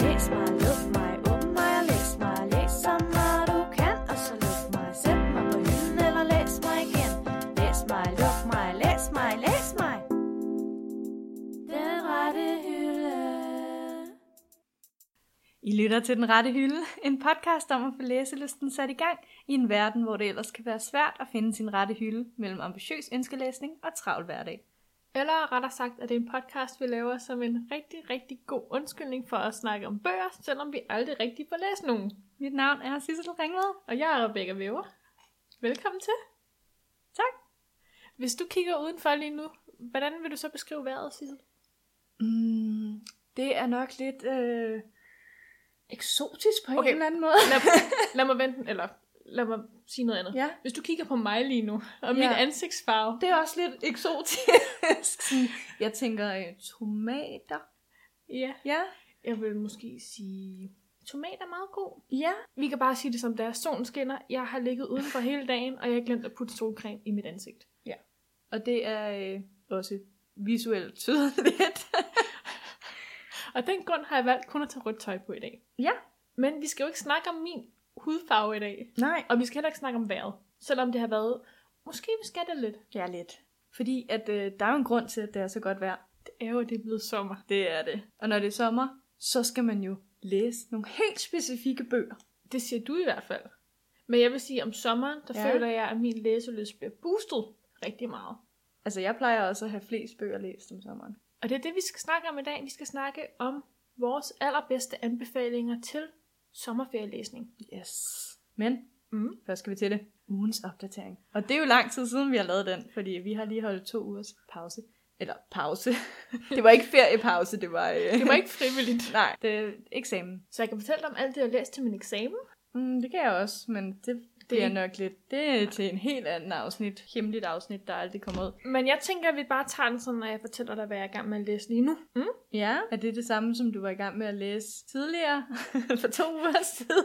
læs mig, luk mig, åbn mig og læs mig. Læs så meget du kan, og så luk mig. Sæt mig på hylden eller læs mig igen. Læs mig, luk mig, læs mig, læs mig. Den rette hylde. I lytter til Den Rette Hylde, en podcast om at få læselysten sat i gang i en verden, hvor det ellers kan være svært at finde sin rette hylde mellem ambitiøs ønskelæsning og travl hverdag. Eller rettere sagt, at det er en podcast, vi laver som en rigtig, rigtig god undskyldning for at snakke om bøger, selvom vi aldrig rigtig får læst nogen. Mit navn er Sissel Ringved. Og jeg er Rebecca Væver. Velkommen til. Tak. Hvis du kigger udenfor lige nu, hvordan vil du så beskrive vejret, Sissel? Mm, det er nok lidt øh, eksotisk på Okay. anden måde. Lad, lad mig vente, eller lad mig sige noget andet. Ja, Hvis du kigger på mig lige nu, og min Ja. ansigtsfarve, det er også lidt eksotisk. Sådan, Jeg tænker øh, tomater. ja, Ja. jeg vil måske sige, tomat er meget god. Ja. Vi kan bare sige det som det er. Solen skinner, jeg har ligget udenfor hele dagen, og jeg har glemt at putte solcreme i mit ansigt. Og det er øh, også visuelt tydeligt. Og den grund har jeg valgt kun at tage rødt tøj på i dag. Ja. Men vi skal jo ikke snakke om min hudfarve i dag. Nej. Og vi skal heller ikke snakke om vejret. Selvom det har været... Måske vi skal det lidt. Ja, lidt. Fordi at øh, der er jo en grund til, at det er så godt vejr. Det er jo, at det er blevet sommer. Det er det. Og når det er sommer, så skal man jo læse nogle helt specifikke bøger. Det siger du i hvert fald. Men jeg vil sige, om sommeren, der Ja. ja. føler jeg, at min læselyst bliver boostet rigtig meget. Altså, jeg plejer også at have flest bøger læst om sommeren. Og det er det, vi skal snakke om i dag. Vi skal snakke om vores allerbedste anbefalinger til sommerferielæsning. Yes. Men Mm. først skal vi til det. Ugens opdatering. Og det er jo lang tid siden, vi har lavet den, fordi vi har lige holdt to ugers pause. Eller pause. det var ikke feriepause, det var... Øh... Det var ikke frivilligt. Nej, det er eksamen. Så jeg kan fortælle dig om alt det, jeg læste til min eksamen. Mm, det kan jeg også, men det, det er nok lidt... Det er til en helt anden afsnit. Hemmeligt afsnit, der aldrig kommer ud. Men jeg tænker, at vi bare tager den sådan, når jeg fortæller dig, hvad jeg er i gang med at læse lige nu. Mm? Ja, er det det samme, som du var i gang med at læse tidligere for to uger siden?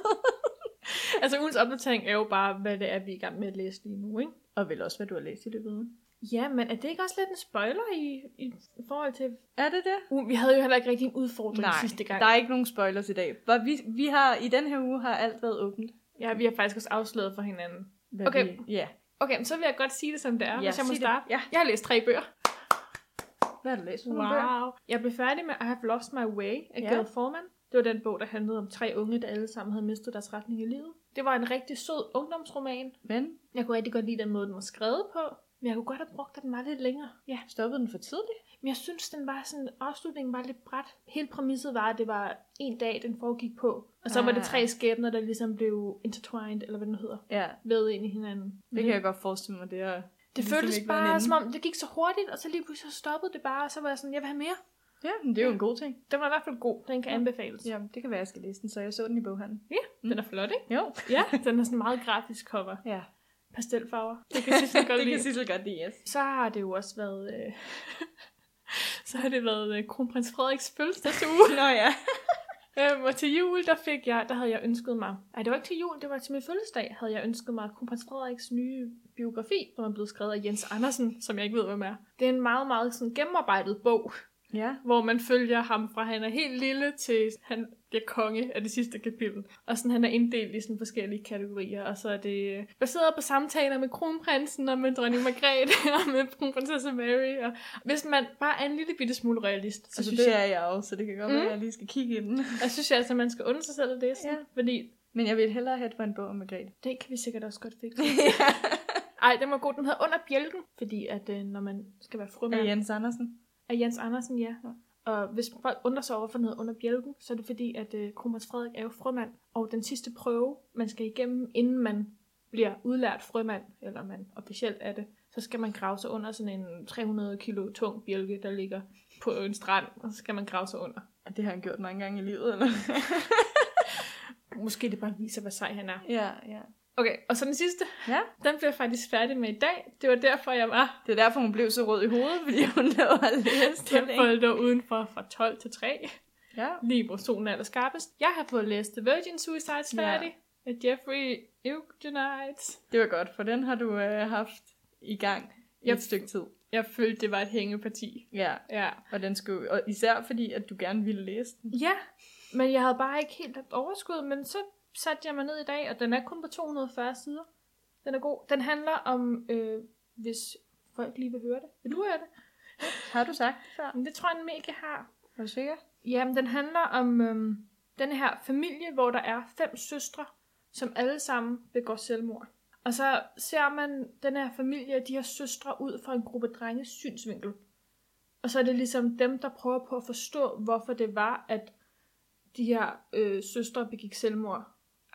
Altså ugens opdatering er jo bare, hvad det er, vi er i gang med at læse lige nu, ikke? Og vel også, hvad du har læst i løbet af ugen. Ja, men er det ikke også lidt en spoiler i, i forhold til... Er det det? Uh, vi havde jo heller ikke rigtig en udfordring Nej, sidste gang. der er ikke nogen spoilers i dag. Bare vi, vi har, I den her uge har alt været åbent. Ja, vi har faktisk også afsløret for hinanden. Hvad Okay. Vi, ja. Okay, men så vil jeg godt sige det, som det er, Ja, hvis jeg må sig det. starte. Ja. Jeg har læst tre bøger. Hvad har du læst? for nogle bøger? Wow. Jeg blev færdig med I Have Lost My Way af Ja. ja. Gail Forman. Det var den bog, der handlede om tre unge, der alle sammen havde mistet deres retning i livet. Det var en rigtig sød ungdomsroman. Men Jeg kunne rigtig godt lide den måde, den var skrevet på. Men jeg kunne godt have brugt, at den var lidt længere. Ja. stoppede den for tidligt? Men jeg synes, den var sådan, afslutningen var lidt bræt. Hele præmisset var, at det var en dag, den foregik på. Og så ah. var det Ah. tre skæbner, der ligesom blev intertwined, eller hvad den hedder, Ja, vævet ind i hinanden. det kan jeg godt forestille mig, det er... ligesom det føltes bare som om, det gik så hurtigt, og så lige pludselig så stoppede det bare, og så var jeg sådan, jeg vil have mere. Ja, men det er jo en god ting. Den var i hvert fald god, den kan Ja. anbefales. Ja, det kan være, jeg skal læse den, så jeg så den i boghandlen. Den er flot, ikke? Jo. Mm. Ja, den er sådan meget grafisk cover. Ja, Pastelfarver. Det kan Sissel godt det kan lide. Sissel godt lide, yes. Så har det jo også været... Øh... så har det været øh, kronprins Frederiks fødselsdagsuge. Nå ja. Øhm, og til jul, der fik jeg, der havde jeg ønsket mig, nej det var ikke til jul, det var til min fødselsdag, havde jeg ønsket mig Kronprins Frederiks nye biografi, som er blevet skrevet af Jens Andersen, som jeg ikke ved, hvem er. Det er en meget, meget sådan gennemarbejdet bog, Ja, hvor man følger ham fra han er helt lille til han bliver konge af det sidste kapitel. Og sådan han er inddelt i sådan forskellige kategorier, og så er det øh, baseret på samtaler med kronprinsen og med dronning Margrethe og med kronprinsesse Mary. Og hvis man bare er en lille bitte smule realist, så altså synes det Mm. jeg, er jeg også, så det kan godt være, at jeg lige skal kigge i den. jeg, synes jeg altså, man skal undre sig selv at læse, ja. Ja. fordi Men jeg vil hellere have, det var en bog om Margrethe. Den kan vi sikkert også godt fikse. Ej, den var god. Den hedder Under bjælken, fordi at øh, når man skal være Af frømand ja. Jens Andersen. af Jens Andersen, ja. Og hvis folk undrer sig over, hvorfor den hedder Under bjælken, så er det fordi, at øh, Kronprins Frederik er jo frømand. Og den sidste prøve, man skal igennem, inden man bliver udlært frømand, eller man officielt er det, så skal man grave sig under sådan en 300 kilo tung bjælke, der ligger på en strand, og så skal man grave sig under. Og det har han gjort mange gange i livet, eller? Måske det bare viser, hvor sej han er. ja, ja. Okay, og så den sidste, Ja, den blev jeg faktisk færdig med i dag. Det var derfor, jeg var det er derfor, hun blev så rød i hovedet, fordi hun lå og læste det, Jeg ikke? har lå udenfor fra 12 til 3, Ja. lige hvor solen er allerskarpest. Jeg har fået læst The Virgin Suicides Ja. færdig af Jeffrey Eugenides. Det var godt, for den har du øh, haft i gang i Jeg- et stykke tid. Jeg følte, det var et hængeparti. Ja, Ja. og den skulle, og især fordi, at du gerne ville læse den. Ja, Men jeg havde bare ikke helt haft overskud, men så satte jeg mig ned i dag, og den er kun på 240 sider. Den er god. Den handler om, øh, hvis folk lige vil høre det. Vil du høre det? Har du sagt det før? Men det tror jeg nemlig ikke, jeg har. Er du sikker? Jamen, den handler om øhm, den her familie, hvor der er fem søstre, som alle sammen begår selvmord. Og så ser man den her familie og de her søstre ud fra en gruppe drenges synsvinkel. Og så er det ligesom dem, der prøver på at forstå, hvorfor det var, at de her øh, søstre begik selvmord.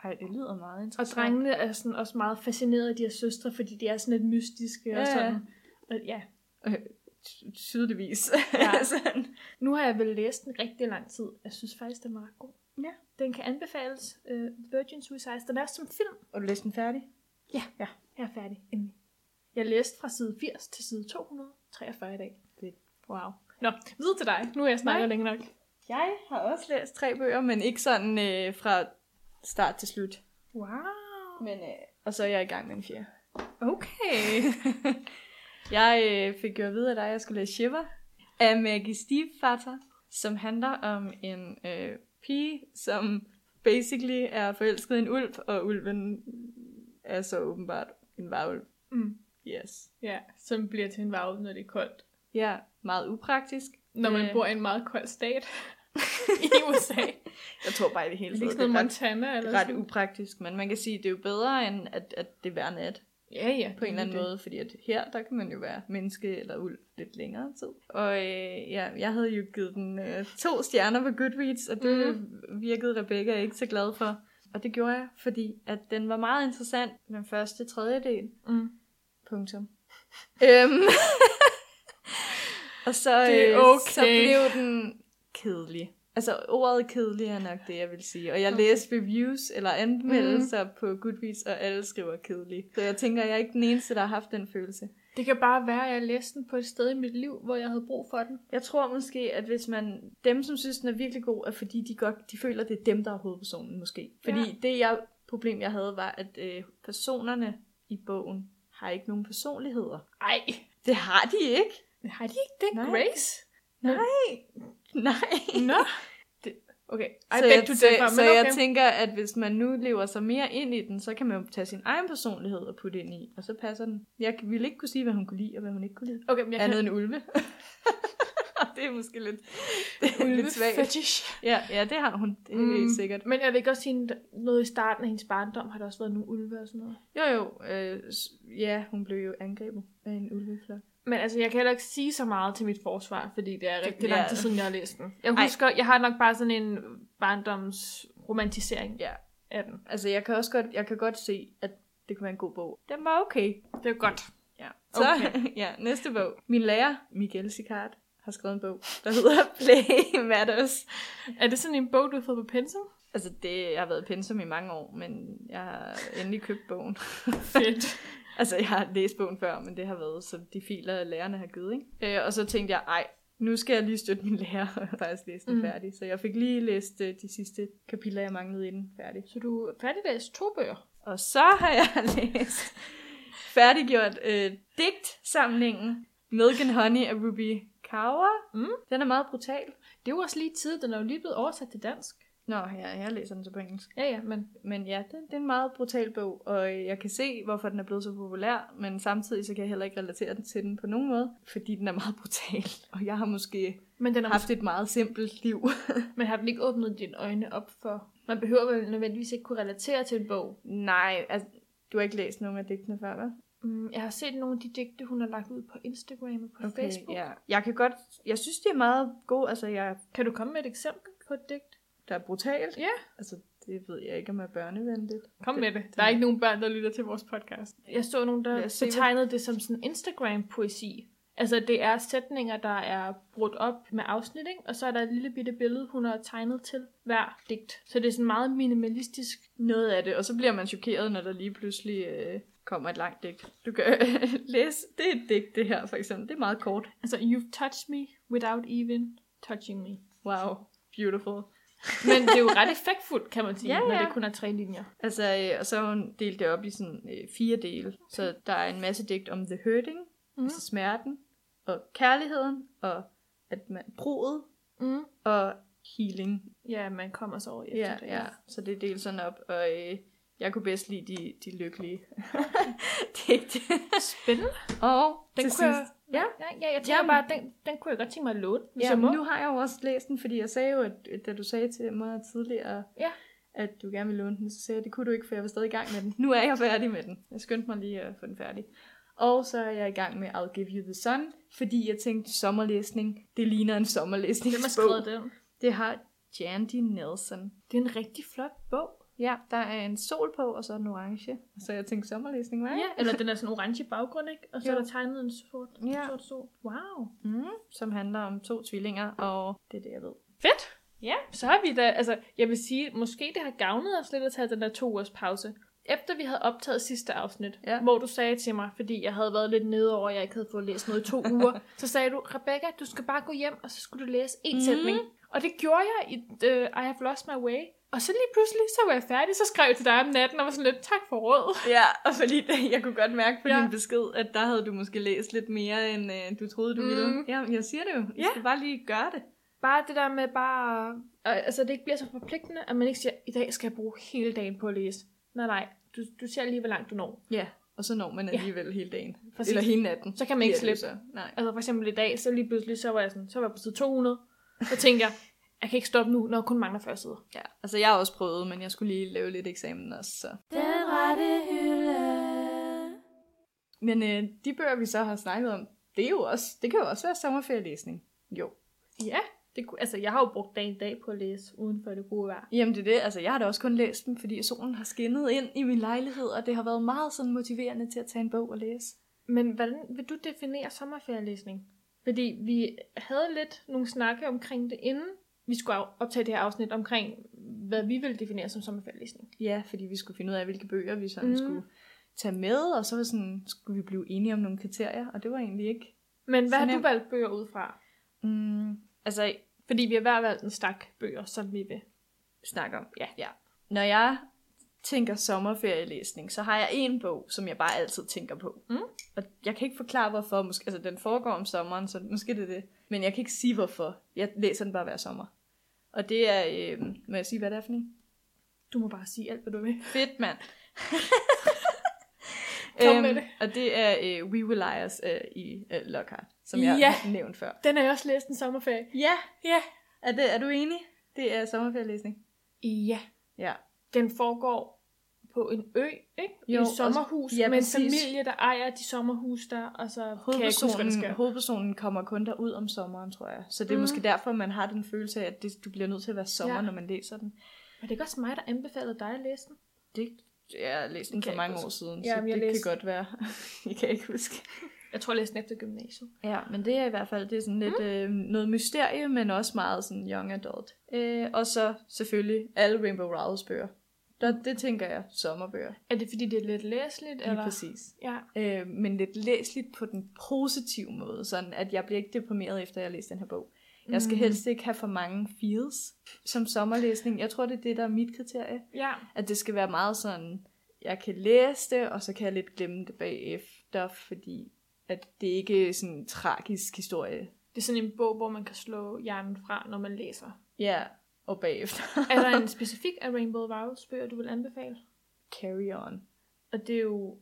Ej, det lyder meget Og interessant. drengene er sådan også meget fascineret af de her søstre, fordi de er sådan lidt mystiske Ja, ja. og sådan. Og ja, Ty- Tydeligvis. Ja. Sådan. Nu har jeg vel læst den rigtig lang tid. Jeg synes faktisk, den var ret god. Ja. Den kan anbefales. Uh, Virgin Suicides. Den er som film. Og du læste den færdig? Jeg er færdig. Endelig. Jeg læste fra side 80 til side 243 i dag. Fedt. Wow. Nå, videre til dig. Nu er jeg snakket Nej. længe nok. Jeg har også læst tre bøger, men ikke sådan øh, fra start til slut. Wow. Men, øh, og så er jeg i gang med en fjerde. Okay. jeg øh, fik jo at vide af dig, at jeg skulle læse Shiver af Maggie Stiefvater, som handler om en øh, pige, som basically er forelsket i en ulv, og ulven er så åbenbart en varulv. Mm. Yes. Ja, som bliver til en varvel, når det er koldt. Ja, meget upraktisk. Når man Øh, bor i en meget kold stat i USA. Jeg tror bare i det hele Er det ikke sådan taget, noget det er ret, Montana eller ret sådan? upraktisk, men man kan sige, det er jo bedre, end at, at det er hver nat. Ja, ja. på en eller anden det. måde, fordi at her, der kan man jo være menneske eller ulv lidt længere tid. Og øh, ja, jeg havde jo givet den øh, to stjerner på Goodreads, og det Mm. virkede Rebecca ikke så glad for. Og det gjorde jeg, fordi at den var meget interessant, den første tredjedel. Mm. Punktum. øhm. og så, Det er øh, okay. så okay. blev den kedelig. Altså ordet kedelig er nok det, jeg vil sige. Og jeg Okay. læste reviews eller anmeldelser mm. på Goodreads, og alle skriver kedelig. Så jeg tænker, jeg er ikke den eneste, der har haft den følelse. Det kan bare være, at jeg læste den på et sted i mit liv, hvor jeg havde brug for den. Jeg tror måske, at hvis man dem, som synes, den er virkelig god, er fordi, de, godt, de føler, det er dem, der er hovedpersonen måske. Fordi Ja. ja. det jeg, problem, jeg havde, var, at øh, personerne i bogen har ikke nogen personligheder. Ej, Det har de ikke. har de ikke det? Nej. Grace? Nej. Nå. Det, okay, I så beg jeg, to så, differ, så men jeg okay. tænker, at hvis man nu lever sig mere ind i den, så kan man jo tage sin egen personlighed og putte ind i, og så passer den. Jeg ville ikke kunne sige, hvad hun kunne lide, og hvad hun ikke kunne lide. okay, men jeg Jeg Andet kan end ulve. Og det er måske lidt, det er ulve lidt svagt. fetish. Ja, ja, det har hun. Det er mm. helt sikkert. Men jeg vil ikke også sige, at noget i starten af hendes barndom har der også været nogle ulve og sådan noget. Jo, jo. Øh, s- ja, hun blev jo angrebet af en ulveflok. Men altså, jeg kan heller ikke sige så meget til mit forsvar, fordi det er rigtig lang ja. tid siden, jeg har læst den. Jeg Ej. husker, jeg har nok bare sådan en barndomsromantisering Ja. af den. Altså, jeg kan også godt, jeg kan godt se, at det kan være en god bog. Den var okay. Det er godt. Ja. Så, Okay. ja, næste bog. Min lærer, Miguel Sicard, har skrevet en bog, der hedder Play Matters. Er det sådan en bog, du har fået på pensum? Altså, det, jeg har været i pensum i mange år, men jeg har endelig købt bogen. Fedt. altså, jeg har læst bogen før, men det har været så de filer, lærerne har givet, ikke? Øh, og så tænkte jeg, ej, nu skal jeg lige støtte min lærer og faktisk læse den Mm. mm. færdig. Så jeg fik lige læst øh, de sidste kapitler, jeg manglede i den færdig. Så du er færdiglæst to bøger? Og så har jeg læst færdiggjort øh, digtsamlingen Milk and Honey af Ruby Kaur. Mm. Den er meget brutal. Det er jo også lige tid, den er jo lige blevet oversat til dansk. Nå, ja, jeg læser den så på engelsk. Ja, ja, men Men ja, det, det er en meget brutal bog, og øh, jeg kan se, hvorfor den er blevet så populær, men samtidig så kan jeg heller ikke relatere den til den på nogen måde, fordi den er meget brutal, og jeg har måske Men, den er haft et meget simpelt liv. men har den ikke åbnet dine øjne op for... Man behøver vel nødvendigvis ikke kunne relatere til en bog. Nej, altså, du har ikke læst nogen af digtene før, hva'? Mm, jeg har set nogle af de digte, hun har lagt ud på Instagram og på okay, Facebook. ja. Jeg kan godt, jeg synes, de er meget gode, altså jeg Kan du komme med et eksempel på et digt? der er brutalt. Ja. Altså, det ved jeg ikke, om er børnevenligt. Kom med det. Der er ikke nogen børn, der lytter til vores podcast. Jeg så nogen, der Lad os se, hvad- betegnede det som sådan Instagram-poesi. Altså, det er sætninger, der er brudt op med afsnit, ikke? og så er der et lille bitte billede, hun har tegnet til hver digt. Så det er sådan meget minimalistisk. Noget af det, og så bliver man chokeret, når der lige pludselig øh, kommer et langt digt. Du kan øh, læse, det er et digt, det her for eksempel. Det er meget kort. Altså, you've touched me without even touching me. Wow, beautiful. Men det er jo ret effektfuldt, kan man sige, ja, Ja, ja. når ja. det kun er tre linjer. Altså, øh, og så har hun delt det op i sådan øh, fire dele. Så der er en masse digt om the hurting, Mhm. mm. altså smerten, og kærligheden, og at man, bruget, Mm. og healing Ja, man kommer så over efter Ja, det. ja. Så det er delt sådan op, og øh, jeg kunne bedst lide de, de lykkelige digte. Spændende. og Den til kunne jeg, sidst, ja, ja, ja, jeg tænker Jamen. bare, den, den kunne jeg godt tænke mig at låne, hvis ja jeg må. men nu har jeg jo også læst den, fordi jeg sagde jo, at, at da du sagde til mig tidligere, Ja. at du gerne ville låne den, så sagde jeg, det kunne du ikke, for jeg var stadig i gang med den. Nu er jeg færdig med den. Jeg skyndte mig lige at få den færdig. Og så er jeg i gang med I'll Give You The Sun, fordi jeg tænkte, sommerlæsning, det ligner en sommerlæsning. Hvem har skrevet den? Det har Jandy Nelson. Det er en rigtig flot bog. Ja, der er en sol på, og så en orange. Så jeg tænkte sommerlæsning, var Ja, eller den er sådan en orange baggrund, ikke? Og så er Jo. der tegnet en sort, Ja. sort sol. Wow. Mm, som handler om to tvillinger, og det er det, jeg ved. Fedt. Ja, så har vi da, altså, jeg vil sige, måske det har gavnet os lidt at tage den der to ugers pause. Efter vi havde optaget sidste afsnit, Ja. hvor du sagde til mig, fordi jeg havde været lidt nede over, at jeg ikke havde fået læst noget i to uger, så sagde du, Rebecca, du skal bare gå hjem, og så skulle du læse en Mhm. mm. sætning. Og det gjorde jeg i uh, I Have Lost My Way. Og så lige pludselig, så var jeg færdig, så skrev jeg til dig om natten, og var sådan lidt, tak for rådet. Ja, og fordi jeg kunne godt mærke på Ja. din besked, at der havde du måske læst lidt mere, end øh, du troede, du Mm. ville. Ja, jeg siger det jo. Jeg Ja. skal bare lige gøre det. Bare det der med bare, og, altså det ikke bliver så forpligtende, at man ikke siger, i dag skal jeg bruge hele dagen på at læse. Nej, nej, du, du ser lige, hvor langt du når. Ja, og så når man alligevel ja. hele dagen. Præcis. Eller hele natten. Så kan man ikke Bliver det slippe. jo Så. Nej. Altså for eksempel i dag, så lige pludselig, så var jeg sådan, så var jeg på side 200. Så tænkte jeg, jeg kan ikke stoppe nu, når jeg kun mangler 40 sider. Ja. Altså, jeg har også prøvet, men jeg skulle lige lave lidt eksamen også. Så. Den rette hylde. Men øh, de bøger, vi så har snakket om, det, er jo også, det kan jo også være sommerferielæsning. Jo. Ja, det, kunne- altså jeg har jo brugt dag i dag på at læse uden for det gode vejr. Jamen det er det, altså jeg har da også kun læst dem, fordi solen har skinnet ind i min lejlighed, og det har været meget sådan motiverende til at tage en bog og læse. Men hvordan vil du definere sommerferielæsning? Fordi vi havde lidt nogle snakke omkring det inden vi skulle af- optage det her afsnit omkring, hvad vi ville definere som sommerferielæsning. Ja, fordi vi skulle finde ud af, hvilke bøger vi sådan Mm. mm. skulle tage med, og så var sådan, skulle vi blive enige om nogle kriterier, og det var egentlig ikke... Men hvad Så har du nemt. valgt bøger ud fra? Mm, altså, Fordi vi har hver valgt en stak bøger, som vi vil. snakke om. Ja. ja. Når jeg tænker sommerferielæsning, så har jeg en bog, som jeg bare altid tænker på. Mm. Og jeg kan ikke forklare, hvorfor. Måske, altså, den foregår om sommeren, så måske det er det. Men jeg kan ikke sige, hvorfor. Jeg læser den bare hver sommer. Og det er, øh, må jeg sige, hvad det er for en? Du må bare sige alt, hvad du vil. Fedt, mand. Øhm, Kom med det. og det er øh, We Will Liars øh, i øh, Lockhart, som jeg Ja. har nævnt før. Den har jeg også læst en sommerferie. Ja, Ja. er, det, er du enig? Det er sommerferielæsning. Ja. Ja. den foregår på en ø, ikke? Jo, I Jo, et og- sommerhus, ja, ja, med en præcis. familie, der ejer de sommerhus der, og så kan jeg ikke huske, hvad der Hovedpersonen, sker. hovedpersonen kommer kun derud om sommeren, tror jeg. Så det er Mhm. mm. måske derfor, man har den følelse af, at det, du bliver nødt til at være sommer, Ja. ja. når man læser den. Var det ikke også mig, der anbefalede dig at læse den? Det, jeg læste den Det kan for jeg mange ikke år huske. siden, Ja, så men jeg det læste. læste- kan godt være. jeg kan ikke huske. Jeg tror, jeg læste den efter gymnasiet. Ja, men det er i hvert fald det er sådan lidt mm. øh, noget mysterie, men også meget sådan young adult. Øh, og så selvfølgelig alle Rainbow Rowles bøger. Der, det tænker jeg, sommerbøger. Er det, fordi det er lidt læseligt? Lige eller? præcis. Ja. Øh, men lidt læsligt på den positive måde, sådan at jeg bliver ikke deprimeret efter, at jeg har læst den her bog. Jeg skal Mm. helst ikke have for mange feels som sommerlæsning. Jeg tror, det er det, der er mit kriterie. ja. At det skal være meget sådan, jeg kan læse det, og så kan jeg lidt glemme det bagefter, fordi at det ikke er sådan en tragisk historie. Det er sådan en bog, hvor man kan slå hjernen fra, når man læser. Ja, og bagefter. Er der en specifik af Rainbow Rowles bøger, du vil anbefale? Carry on. Og det er jo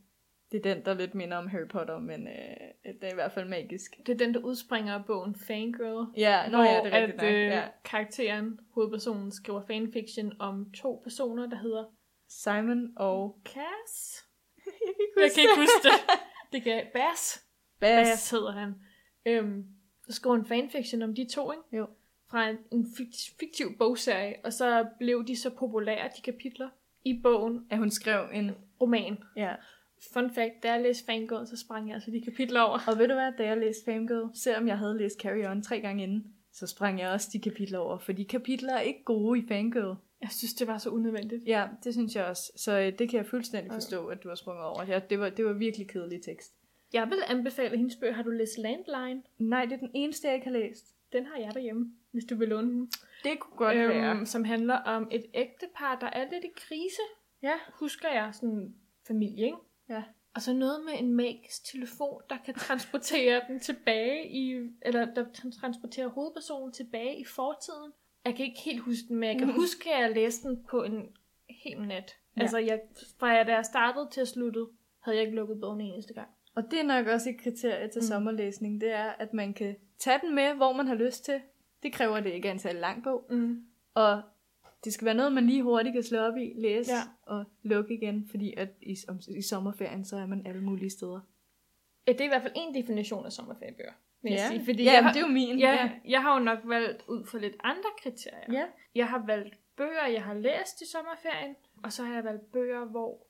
Det er den, der lidt minder om Harry Potter, men øh, det er i hvert fald magisk. det er den, der udspringer af bogen Fangirl. Ja, Nå, når ja, det er rigtigt at nok. øh, Ja. karakteren, hovedpersonen, skriver fanfiction om to personer, der hedder Simon og... Cass. Jeg kan ikke Jeg kan ikke huske det. Det kan Bass. Bass Bas. hedder han. Øhm, så skrev en fanfiction om de to, ikke? Jo. Fra en, en fikt- fiktiv bogserie, og så blev de så populære, de kapitler, i bogen At hun skrev en... roman. Ja. Fun fact, da jeg læste Fangirl, så sprang jeg altså de kapitler over. Og ved du hvad, da jeg læste Fangirl, selvom jeg havde læst Carry On tre gange inden, så sprang jeg også de kapitler over, for de kapitler er ikke gode i Fangirl. Jeg synes, det var så unødvendigt. Ja, det synes jeg også. Så øh, det kan jeg fuldstændig Okay. forstå, at du har sprunget over. Ja, det, var, det var virkelig kedelig tekst. Jeg vil anbefale hendes bøger. Har du læst Landline? Nej, det er den eneste, jeg ikke har læst. Den har jeg derhjemme, hvis du vil låne den. Det kunne godt øhm, øhm, være. som handler om et ægtepar, der er lidt i krise. Ja. Husker jeg sådan familie, ikke? Ja. Og så noget med en magisk telefon, der kan transportere den tilbage i, eller der tran- transporterer hovedpersonen tilbage i fortiden, Jeg kan ikke helt huske den, men jeg kan Mhm. huske, at jeg læste den på en hel nat. Ja. Ja. Altså, jeg, fra jeg, da jeg startede til sluttede, havde jeg ikke lukket bogen en eneste gang. Og det er nok også et kriterie til mm. Mm. sommerlæsning, det er, at man kan tage den med, hvor man har lyst til. Det kræver, at det ikke er en særlig lang bog. Mm. Og det skal være noget, man lige hurtigt kan slå op i, læse ja. Ja. og lukke igen, fordi at i, om, i sommerferien, så er man alle mulige steder. Ja, det er i hvert fald en definition af sommerferiebøger, vil jeg sige. Fordi ja jeg, men har- det er jo min. ja, jeg har jo nok valgt ud fra lidt andre kriterier. ja. Jeg har valgt bøger, jeg har læst i sommerferien, og så har jeg valgt bøger, hvor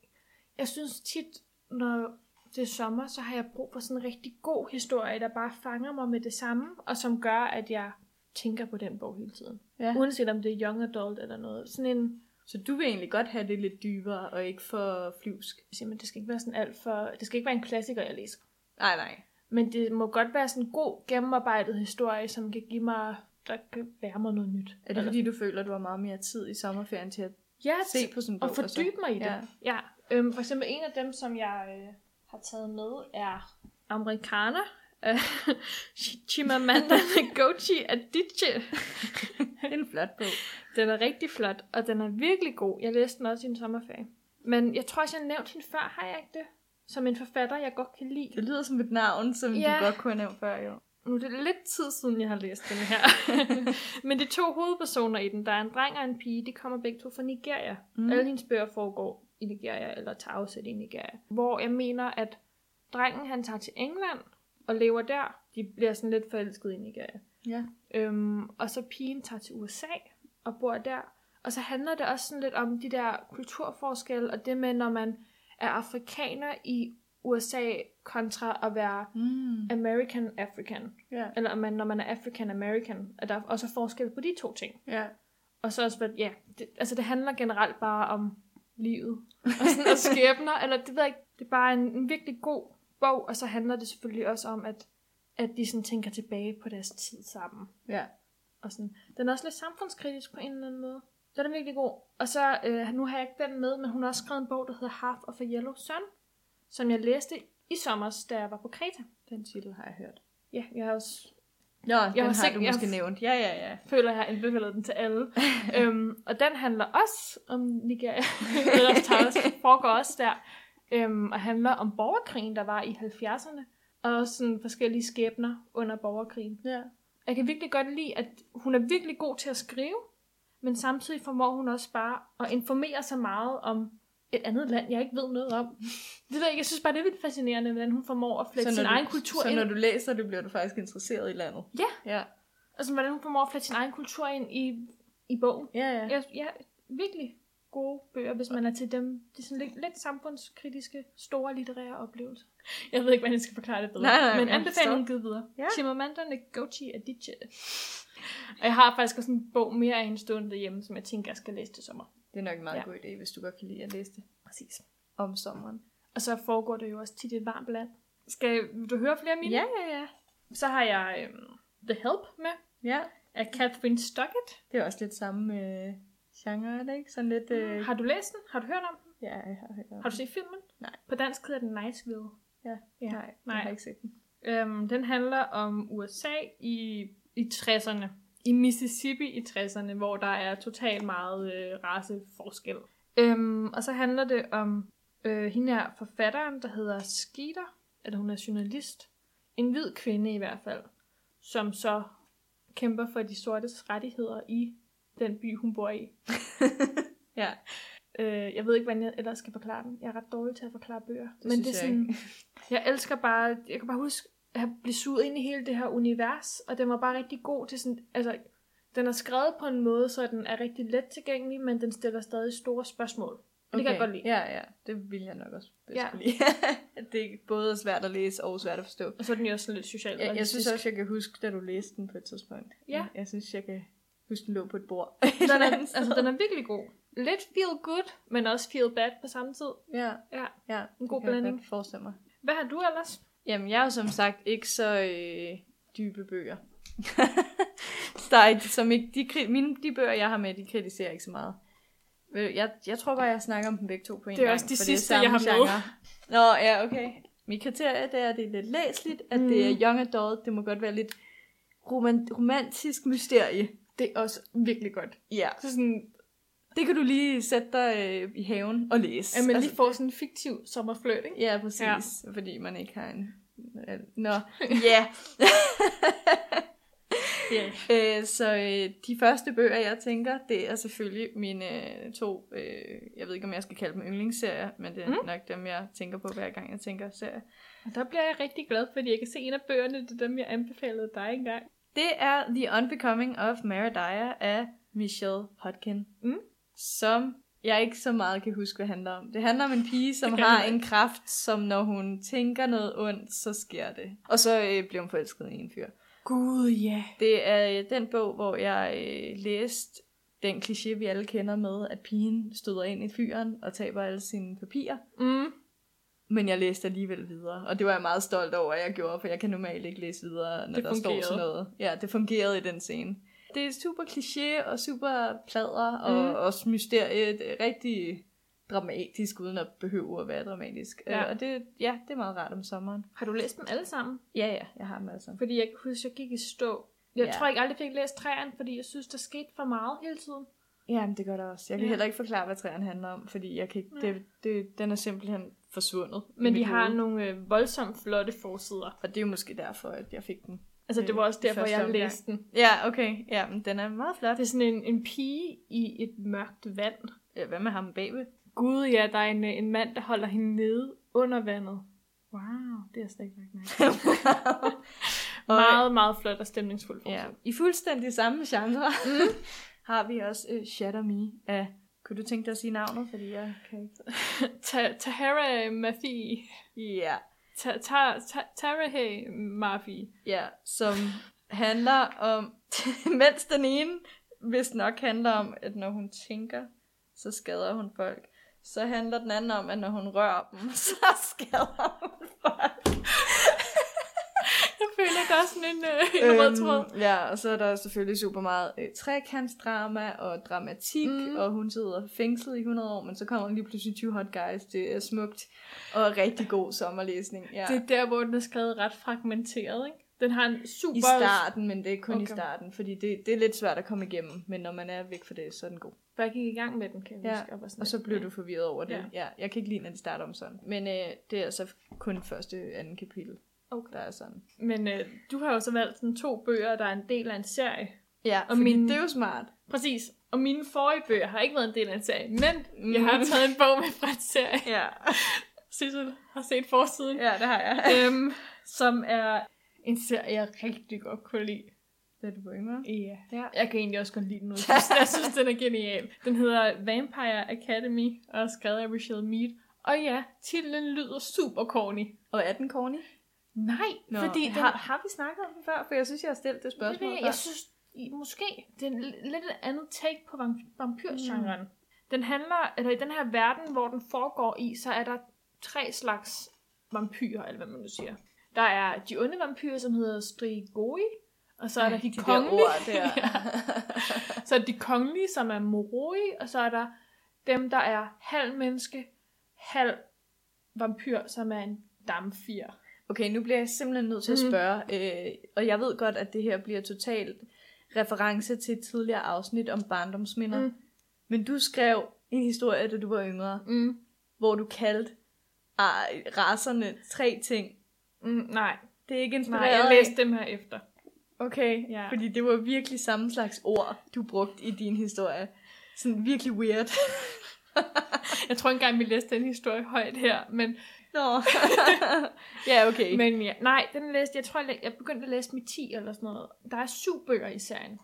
jeg synes tit, når det er sommer, så har jeg brug for sådan en rigtig god historie, der bare fanger mig med det samme, og som gør, at jeg tænker på den bog hele tiden. ja. Uanset om det er young adult eller noget. Sådan en, Så du vil egentlig godt have det lidt dybere og ikke for flyvsk? simpelthen, det skal ikke være sådan alt for, det skal ikke være en klassiker, jeg læser. Nej, nej. Men det må godt være sådan en god, gennemarbejdet historie, som kan give mig, der kan være mig noget nyt. Er det fordi, du føler, at du har meget mere tid i sommerferien til at Ja, se på sådan en bog? altså. og fordybe mig i det. Ja. Ja. ja. Øhm, for eksempel en af dem, som jeg øh, har taget med, er amerikaner. Øh, Ch- Chimamanda Ngozi Adichie. Det er en flot bog. Den er rigtig flot, og den er virkelig god. Jeg læste den også i en sommerferie. Men jeg tror også, jeg har nævnt hende før, har jeg ikke det? Som en forfatter, jeg godt kan lide. Det lyder som et navn, som ja. Ja. du godt kunne have nævnt før, jo. Nu er det lidt tid siden, jeg har læst den her. Men det er to hovedpersoner i den. Der er en dreng og en pige. De kommer begge to fra Nigeria. Mm. Mm. Alle hendes bøger foregår i Nigeria, eller tager afsæt i Nigeria. Hvor jeg mener, at drengen han tager til England og lever der. De bliver sådan lidt forelskede i Nigeria. Ja. Øhm, og så pigen tager til USA og bor der. Og så handler det også sådan lidt om de der kulturforskelle, og det med, når man er afrikaner i USA, kontra at være Mm. American African. Ja. Eller om man, når man er African American, at der også er forskel på de to ting. ja. Og så også, hvad- ja, det, altså det handler generelt bare om livet og sådan og skæbner, eller det ved jeg ikke, det er bare en, en virkelig god bog, og så handler det selvfølgelig også om, at, at de sådan tænker tilbage på deres tid sammen. Ja. Og sådan. Den er også lidt samfundskritisk på en eller anden måde. Den er virkelig god. Og så, øh, nu har jeg ikke den med, men hun har også skrevet en bog, der hedder Half of a Yellow Sun, som jeg læste i sommer, da jeg var på Kreta. Den titel har jeg hørt. Ja, jeg har også Nå, jeg den var har sikker- du jeg- måske nævnt. Ja, ja, ja. føler, jeg har anbefalet den til alle. øhm, og den handler også om Nigeria. Ellers tager også- foregår også der. Øhm, og handler om borgerkrigen, der var i 70'erne. Og også sådan forskellige skæbner under borgerkrigen. ja. Jeg kan virkelig godt lide, at hun er virkelig god til at skrive. Men samtidig formår hun også bare at informere sig meget om et andet land, jeg ikke ved noget om. Det ved jeg ikke. Jeg synes bare, det er vildt fascinerende, hvordan hun formår at flette sin du, egen kultur så ind. når du læser det, bliver du faktisk interesseret i landet. Ja. Ja, Altså, hvordan hun formår at flette sin egen kultur ind i, i bogen. ja. ja. Ja, ja, virkelig gode bøger, hvis man er til dem. Det er sådan lidt, lidt samfundskritiske, store litterære oplevelser. Jeg ved ikke, hvordan jeg skal forklare det bedre. Nej, nej, men jeg anbefalingen givet videre. Ja. Ja. Chimamanda Ngozi Adichie. Og jeg har faktisk også en bog mere af hende stående derhjemme, som jeg tænker, jeg skal læse til sommer. Det er nok en meget ja. Ja. god idé, hvis du godt kan lide at læse det Præcis. om sommeren. Og så foregår det jo også tit i et varmt land. Skal vil du høre flere af mine? ja, ja. Så har jeg øhm, The Help med Ja, af Catherine Stockett. det er også lidt samme øh, genre, er det ikke? Sådan lidt... Øh, Har du læst den? Har du hørt om den? ja, jeg har hørt om Mm. Har du set filmen? Nej. På dansk hedder den Niceville. Ja. ja. Nej, nej, jeg Nej. har ikke set den. Øhm, den handler om USA i, i 60'erne. I Mississippi i 60'erne, hvor der er totalt meget øh, raceforskel. Øhm, og så handler det om øh, hende her forfatteren, der hedder Skeeter, eller hun er journalist. En hvid kvinde i hvert fald, som så kæmper for de sortes rettigheder i den by, hun bor i. Ja, Øh, jeg ved ikke, hvordan jeg ellers skal forklare den. Jeg er ret dårlig til at forklare bøger. Det synes jeg jeg elsker bare, jeg kan bare huske at blive suget ind i hele det her univers, og den var bare rigtig god til sådan, altså, den er skrevet på en måde, så den er rigtig let tilgængelig, men den stiller stadig store spørgsmål. Okay. Det kan jeg godt lide. Ja, ja, det vil jeg nok også bedst ja. Ja. lide. At det er både svært at læse og svært at forstå. Og så er den jo også sådan lidt socialt. Jeg, jeg synes også, jeg kan huske, da du læste den på et tidspunkt. Ja. Jeg synes, jeg kan huske, den lå på et bord. den er, altså, den er virkelig god. Lidt feel good, men også feel bad på samme tid. Ja, Ja. ja. En god det kan Jeg blanding. godt forestille mig. Hvad har du ellers? Jamen, jeg er jo som sagt ikke så øh, dybe bøger. Så der er ikke, som ikke, de, kri- mine, de bøger, jeg har med, de kritiserer ikke så meget. Øh, Jeg, jeg tror bare, jeg snakker om dem begge to på en gang. Det er også de for sidste, samme jeg har med. Nå, ja, okay. Mit kriterie det er, at det er lidt læsligt, at mm. det er young adult, det må godt være lidt roman- romantisk mysterie. Det er også virkelig godt. Ja, Så sådan, det kan du lige sætte dig øh, i haven og læse. at man Altså, lige får sådan en fiktiv sommerfløjt, ikke? Ja, præcis. Ja. Fordi man ikke har en... Nå, ja. Yeah. Øh, så øh, de første bøger, jeg tænker, det er selvfølgelig mine øh, to, øh, jeg ved ikke, om jeg skal kalde dem yndlingsserier, men det er mm. nok dem, jeg tænker på, hver gang jeg tænker serier. Og der bliver jeg rigtig glad, fordi jeg kan se en af bøgerne, det er dem, jeg anbefalede dig engang. Det er The Unbecoming of Meredith af Michelle Hodgkin, Mm. som jeg ikke så meget kan huske, hvad handler om. Det handler om en pige, som Det kan jeg har ikke. en kraft, som når hun tænker noget ondt, så sker det. Og så øh, bliver hun forelsket i en fyr. Gud, ja. Det er øh, den bog, hvor jeg øh, læste den kliché, vi alle kender med, at pigen støder ind i fyren og taber alle sine papirer. Yeah. Mm. Men jeg læste alligevel videre, og det var jeg meget stolt over, at jeg gjorde, for jeg kan normalt ikke læse videre, når Det der fungerede. står sådan noget. Ja, det fungerede i den scene. Det er super kliché og super plader og Mm. mm. også mysterie. Det er rigtig dramatisk, uden at behøve at være dramatisk. Ja. Ja. Og det, ja, det er meget rart om sommeren. Har du læst dem alle sammen? Ja, ja, jeg har dem alle sammen. Fordi jeg kan huske, jeg gik i stå. Jeg Ja. tror ikke aldrig fik læst træerne, fordi jeg synes, der skete for meget hele tiden. Jamen, det gør der også. Jeg kan Ja. ja. heller ikke forklare, hvad træerne handler om, fordi jeg kan ikke, Nej. det, det, den er simpelthen forsvundet. i Men mit de har hoved. nogle øh, voldsomt flotte forsider. Og det er jo måske derfor, at jeg fik den. Altså, det var også Øh, i derfor, første jeg omgang. læste den. Ja, okay. Ja, men den er meget flot. Det er sådan en, en pige i et mørkt vand. Ja, Hvad med ham bagved? Gud, ja, der er en, øh, en mand, der holder hende nede under vandet. Wow, det er jeg slet ikke lagt mærke til. Og- Meget, meget flot og stemningsfuldt. Ja. I fuldstændig samme genre mm. har vi også øh, Shatter Me af... Kunne du tænke dig at sige navnet? Fordi jeg kan ikke... Ta- Tahara Mafi. Ja. Ta- ta- ta- Tarahe Mafi. Ja, som handler om... mens den ene vist nok handler om, at når hun tænker, så skader hun folk. Så handler den anden om, at når hun rører dem, så skader hun folk. Jeg føler, der er sådan en, øh, en Øhm, rød tråd. ja, og så er der selvfølgelig super meget øh, trekantsdrama og dramatik, Mm. mm. og hun sidder fængslet i 100 år, men så kommer hun lige pludselig 20 hot guys. Det er smukt og rigtig god sommerlæsning. Ja. Det er der, hvor den er skrevet ret fragmenteret, ikke? Den har en super... I starten, men det er kun okay. i Okay. starten, fordi det, det er lidt svært at komme igennem, men når man er væk fra det, så er den god. For jeg gik i gang med den, kan jeg Ja, huske. Og, var sådan Og så bliver du forvirret over det. Ja. Ja. ja jeg kan ikke lide, når de starter om sådan. Men øh, det er altså kun første, anden kapitel, Okay. der er sådan. Men øh, du har jo så valgt sådan to bøger, der er en del af en serie. Ja, Og og min... min- det er jo smart. Præcis. Og mine forrige bøger har ikke været en del af en serie, men mm. Mm. jeg har taget en bog med fra en serie. Ja, Sissel har set forsiden. ja det har jeg. øhm, som er en serie, jeg rigtig godt kunne lide. Det er du på yngre. Ja. Ja. Jeg kan egentlig også godt lide den ud. Jeg synes- Jeg synes, den er genial. Den hedder Vampire Academy og er skrevet af Rachel Mead. Og ja, titlen lyder super corny. Og er den corny? Nej, Nå, fordi den, har, har vi snakket om den før? For jeg synes, jeg har stillet det det spørgsmål ved jeg, før. jeg synes, i- måske, det er en l- lidt et andet take på vamp- vampyrgenren. Mm. Den handler, eller i den her verden, hvor den foregår i, så er der tre slags vampyrer, eller hvad man nu siger. Der er de onde vampyrer, som hedder Strigoi, og så er der Ej, de, de der kongelige. ord der. ja. Så er de kongelige, som er Moroi, og så er der dem, der er halv menneske, halv vampyr, som er en damfir. Okay, nu bliver jeg simpelthen nødt til at Mhm. spørge, øh, og jeg ved godt, at det her bliver totalt reference til et tidligere afsnit om barndomsminder, Mm. mm. men du skrev en historie, da du var yngre, Mm. hvor du kaldte ah, raserne tre ting. Mm, nej, Det er ikke nej, inspireret jeg af- læste dem her efter. Okay, Ja. ja. fordi det var virkelig samme slags ord, du brugte i din historie. Sådan virkelig weird. Jeg tror ikke engang, vi læste den historie højt her, men, Nå. ja, okay. Men... men ja, nej, den læste, jeg tror, jeg, læ- jeg begyndte at læse med 10 eller sådan noget. Der er syv bøger i serien.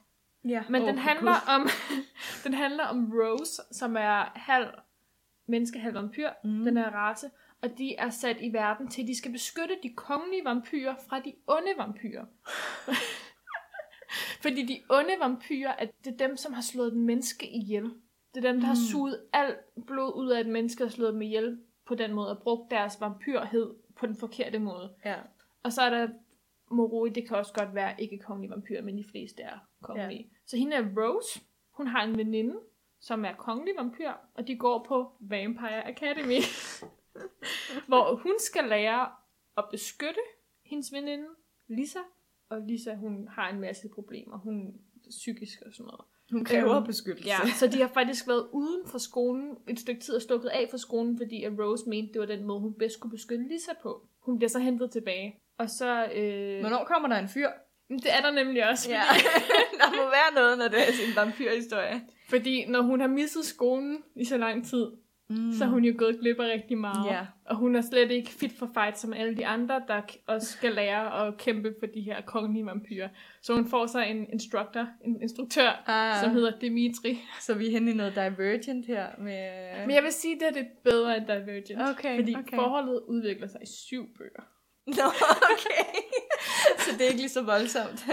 Ja. Men Åh, den, for handler Gud. om, den handler om Rose, som er halv menneske, halv vampyr, mm. Mm. den her race, og de er sat i verden til, at de skal beskytte de kongelige vampyrer fra de onde vampyrer. Fordi de onde vampyrer, at det er dem, som har slået et menneske ihjel. Det er dem, der har Mm. suget alt blod ud af et menneske og slået dem ihjel på den måde, og brugt deres vampyrhed på den forkerte måde. Ja. Og så er der Moroi, det kan også godt være ikke kongelige vampyrer, men de fleste er kongelige. Ja. Så hende er Rose, hun har en veninde, som er kongelig vampyr, og de går på Vampire Academy, hvor hun skal lære at beskytte hendes veninde, Lisa. Og Lisa, hun har en masse problemer. Hun psykisk og sådan noget. Hun kræver Øhm, beskyttelse. Ja, så de har faktisk været uden for skolen et stykke tid og stukket af fra skolen, fordi at Rose mente, det var den måde, hun bedst kunne beskytte Lisa på. Hun bliver så hentet tilbage. Og så... Øh, Hvornår kommer der en fyr? det er der nemlig også. Ja. der må være noget, når det er sin vampyrhistorie. Fordi når hun har misset skolen i så lang tid, mm. Mm. så er hun jo gået glip af rigtig meget. Ja. Og hun er slet ikke fit for fight som alle de andre, der k- også skal lære at kæmpe for de her kongelige vampyrer. Så hun får så en instructor, en instruktør, Ah, ja. som hedder Dimitri. Så vi er henne i noget divergent her med... Men jeg vil sige, at det er lidt bedre end Divergent. Okay, fordi okay. forholdet udvikler sig i syv bøger. Nå, okay. så det er ikke lige så voldsomt.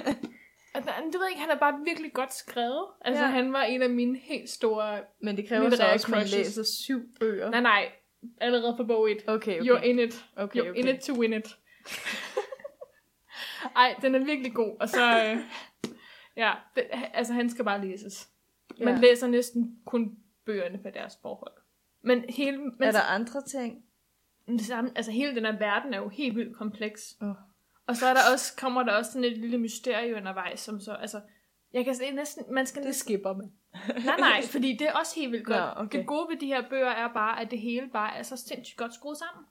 Altså, han- det ved jeg ikke, han er bare virkelig godt skrevet. Altså, Ja. ja. han var en af mine helt store... Men det kræver Litterære da også, at man crushes. læser syv bøger. Nej, nej, allerede fra bog 1. Okay, Okay. You're okay. in it. okay, You're okay. in it to win it. Ej, den er virkelig god. Og så... Øh, ja, det, altså han skal bare læses. Man Ja. læser næsten kun bøgerne på deres forhold. Men hele, men, Er der andre ting? det samme, altså hele den her verden er jo helt vildt kompleks. Åh. Og så er der også, kommer der også sådan et lille mysterie undervejs, som så, altså, jeg kan se næsten, man skal næsten, skipper man. nej nej, fordi det er også helt vildt godt. Nå, okay. Det gode ved de her bøger er bare, at det hele bare er så sindssygt godt skruet sammen.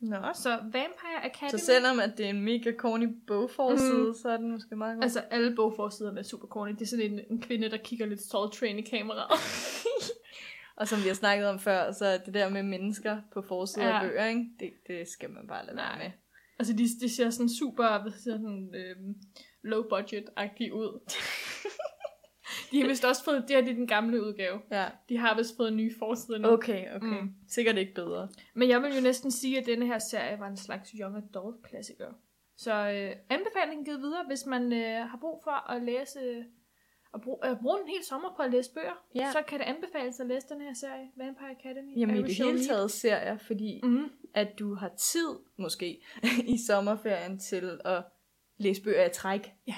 Nå. Så Vampire Academy... Så selvom at det er en mega corny bogforside, mm. så er den måske meget god. Altså, alle bogforsiderne er super corny. Det er sådan en, en kvinde, der kigger lidt Soul Train i kameraet. Og som vi har snakket om før, så er det der med mennesker på forsiden ja. af Ja. bøger, ikke? Det, det skal man bare lade være Nej. med. altså, de, de ser sådan super hvad siger, sådan, øhm, low-budget-agtige ud. de har vist også fået, det her det er den gamle udgave. Ja. De har vist fået nye forsider nu. Okay, okay. Mm. Sikkert ikke bedre. Men jeg vil jo næsten sige, at denne her serie var en slags young adult-klassiker. Så øh, anbefalingen givet videre, hvis man øh, har brug for at læse... øh, Og bruge, øh, bruge en hel sommer på at læse bøger, Ja. så kan det anbefales at læse den her serie, Vampire Academy. Jamen af i det Michelle hele Yeoh. taget ser jeg, fordi Mhm. at du har tid, måske, i sommerferien til at læse bøger i træk. Ja.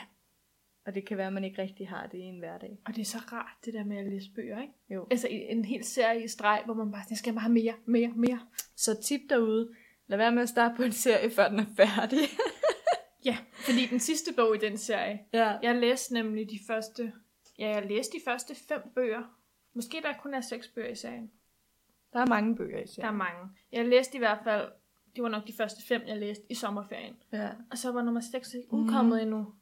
Og det kan være, at man ikke rigtig har det i en hverdag. Og det er så rart, det der med at læse bøger, ikke? Jo. Altså i- en hel serie i streg, hvor man bare, jeg skal bare have mere, mere, mere. Så tip derude, lad være med at starte på en serie, før den er færdig. Ja, fordi den sidste bog i den serie, ja. jeg læste nemlig de første, ja, jeg læste de første fem bøger. Måske der kun er seks bøger i serien. Der er mange bøger i Ja. Der serien. er mange. Jeg læste i hvert fald, det var nok de første fem, jeg læste i sommerferien. Ja. Og så var nummer 6 ikke udkommet mm. endnu.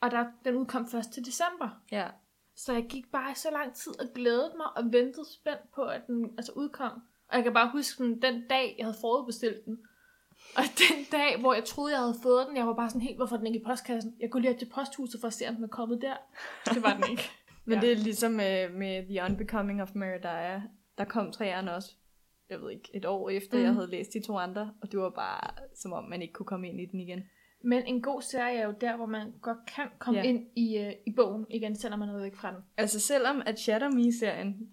Og der, den udkom først til december. ja. Så jeg gik bare i så lang tid og glædede mig og ventede spændt på, at den altså udkom. Og jeg kan bare huske den, den dag, jeg havde forudbestilt den. Og den dag, hvor jeg troede, jeg havde fået den, jeg var bare sådan helt, hvorfor er den ikke i postkassen? Jeg kunne lige op til posthuset for at se, om den var kommet der. Det var den ikke. Men ja. Ja. det er ligesom med, med The Unbecoming of Meredith. Der kom træerne også, jeg ved ikke, et år efter, mm. Mhm. jeg havde læst de to andre. Og det var bare, som om man ikke kunne komme ind i den igen. Men en god serie er jo der, hvor man godt kan komme Ja. ja. ind i, øh, i bogen igen, selvom man er væk fra den. Altså selvom at Shatter Me-serien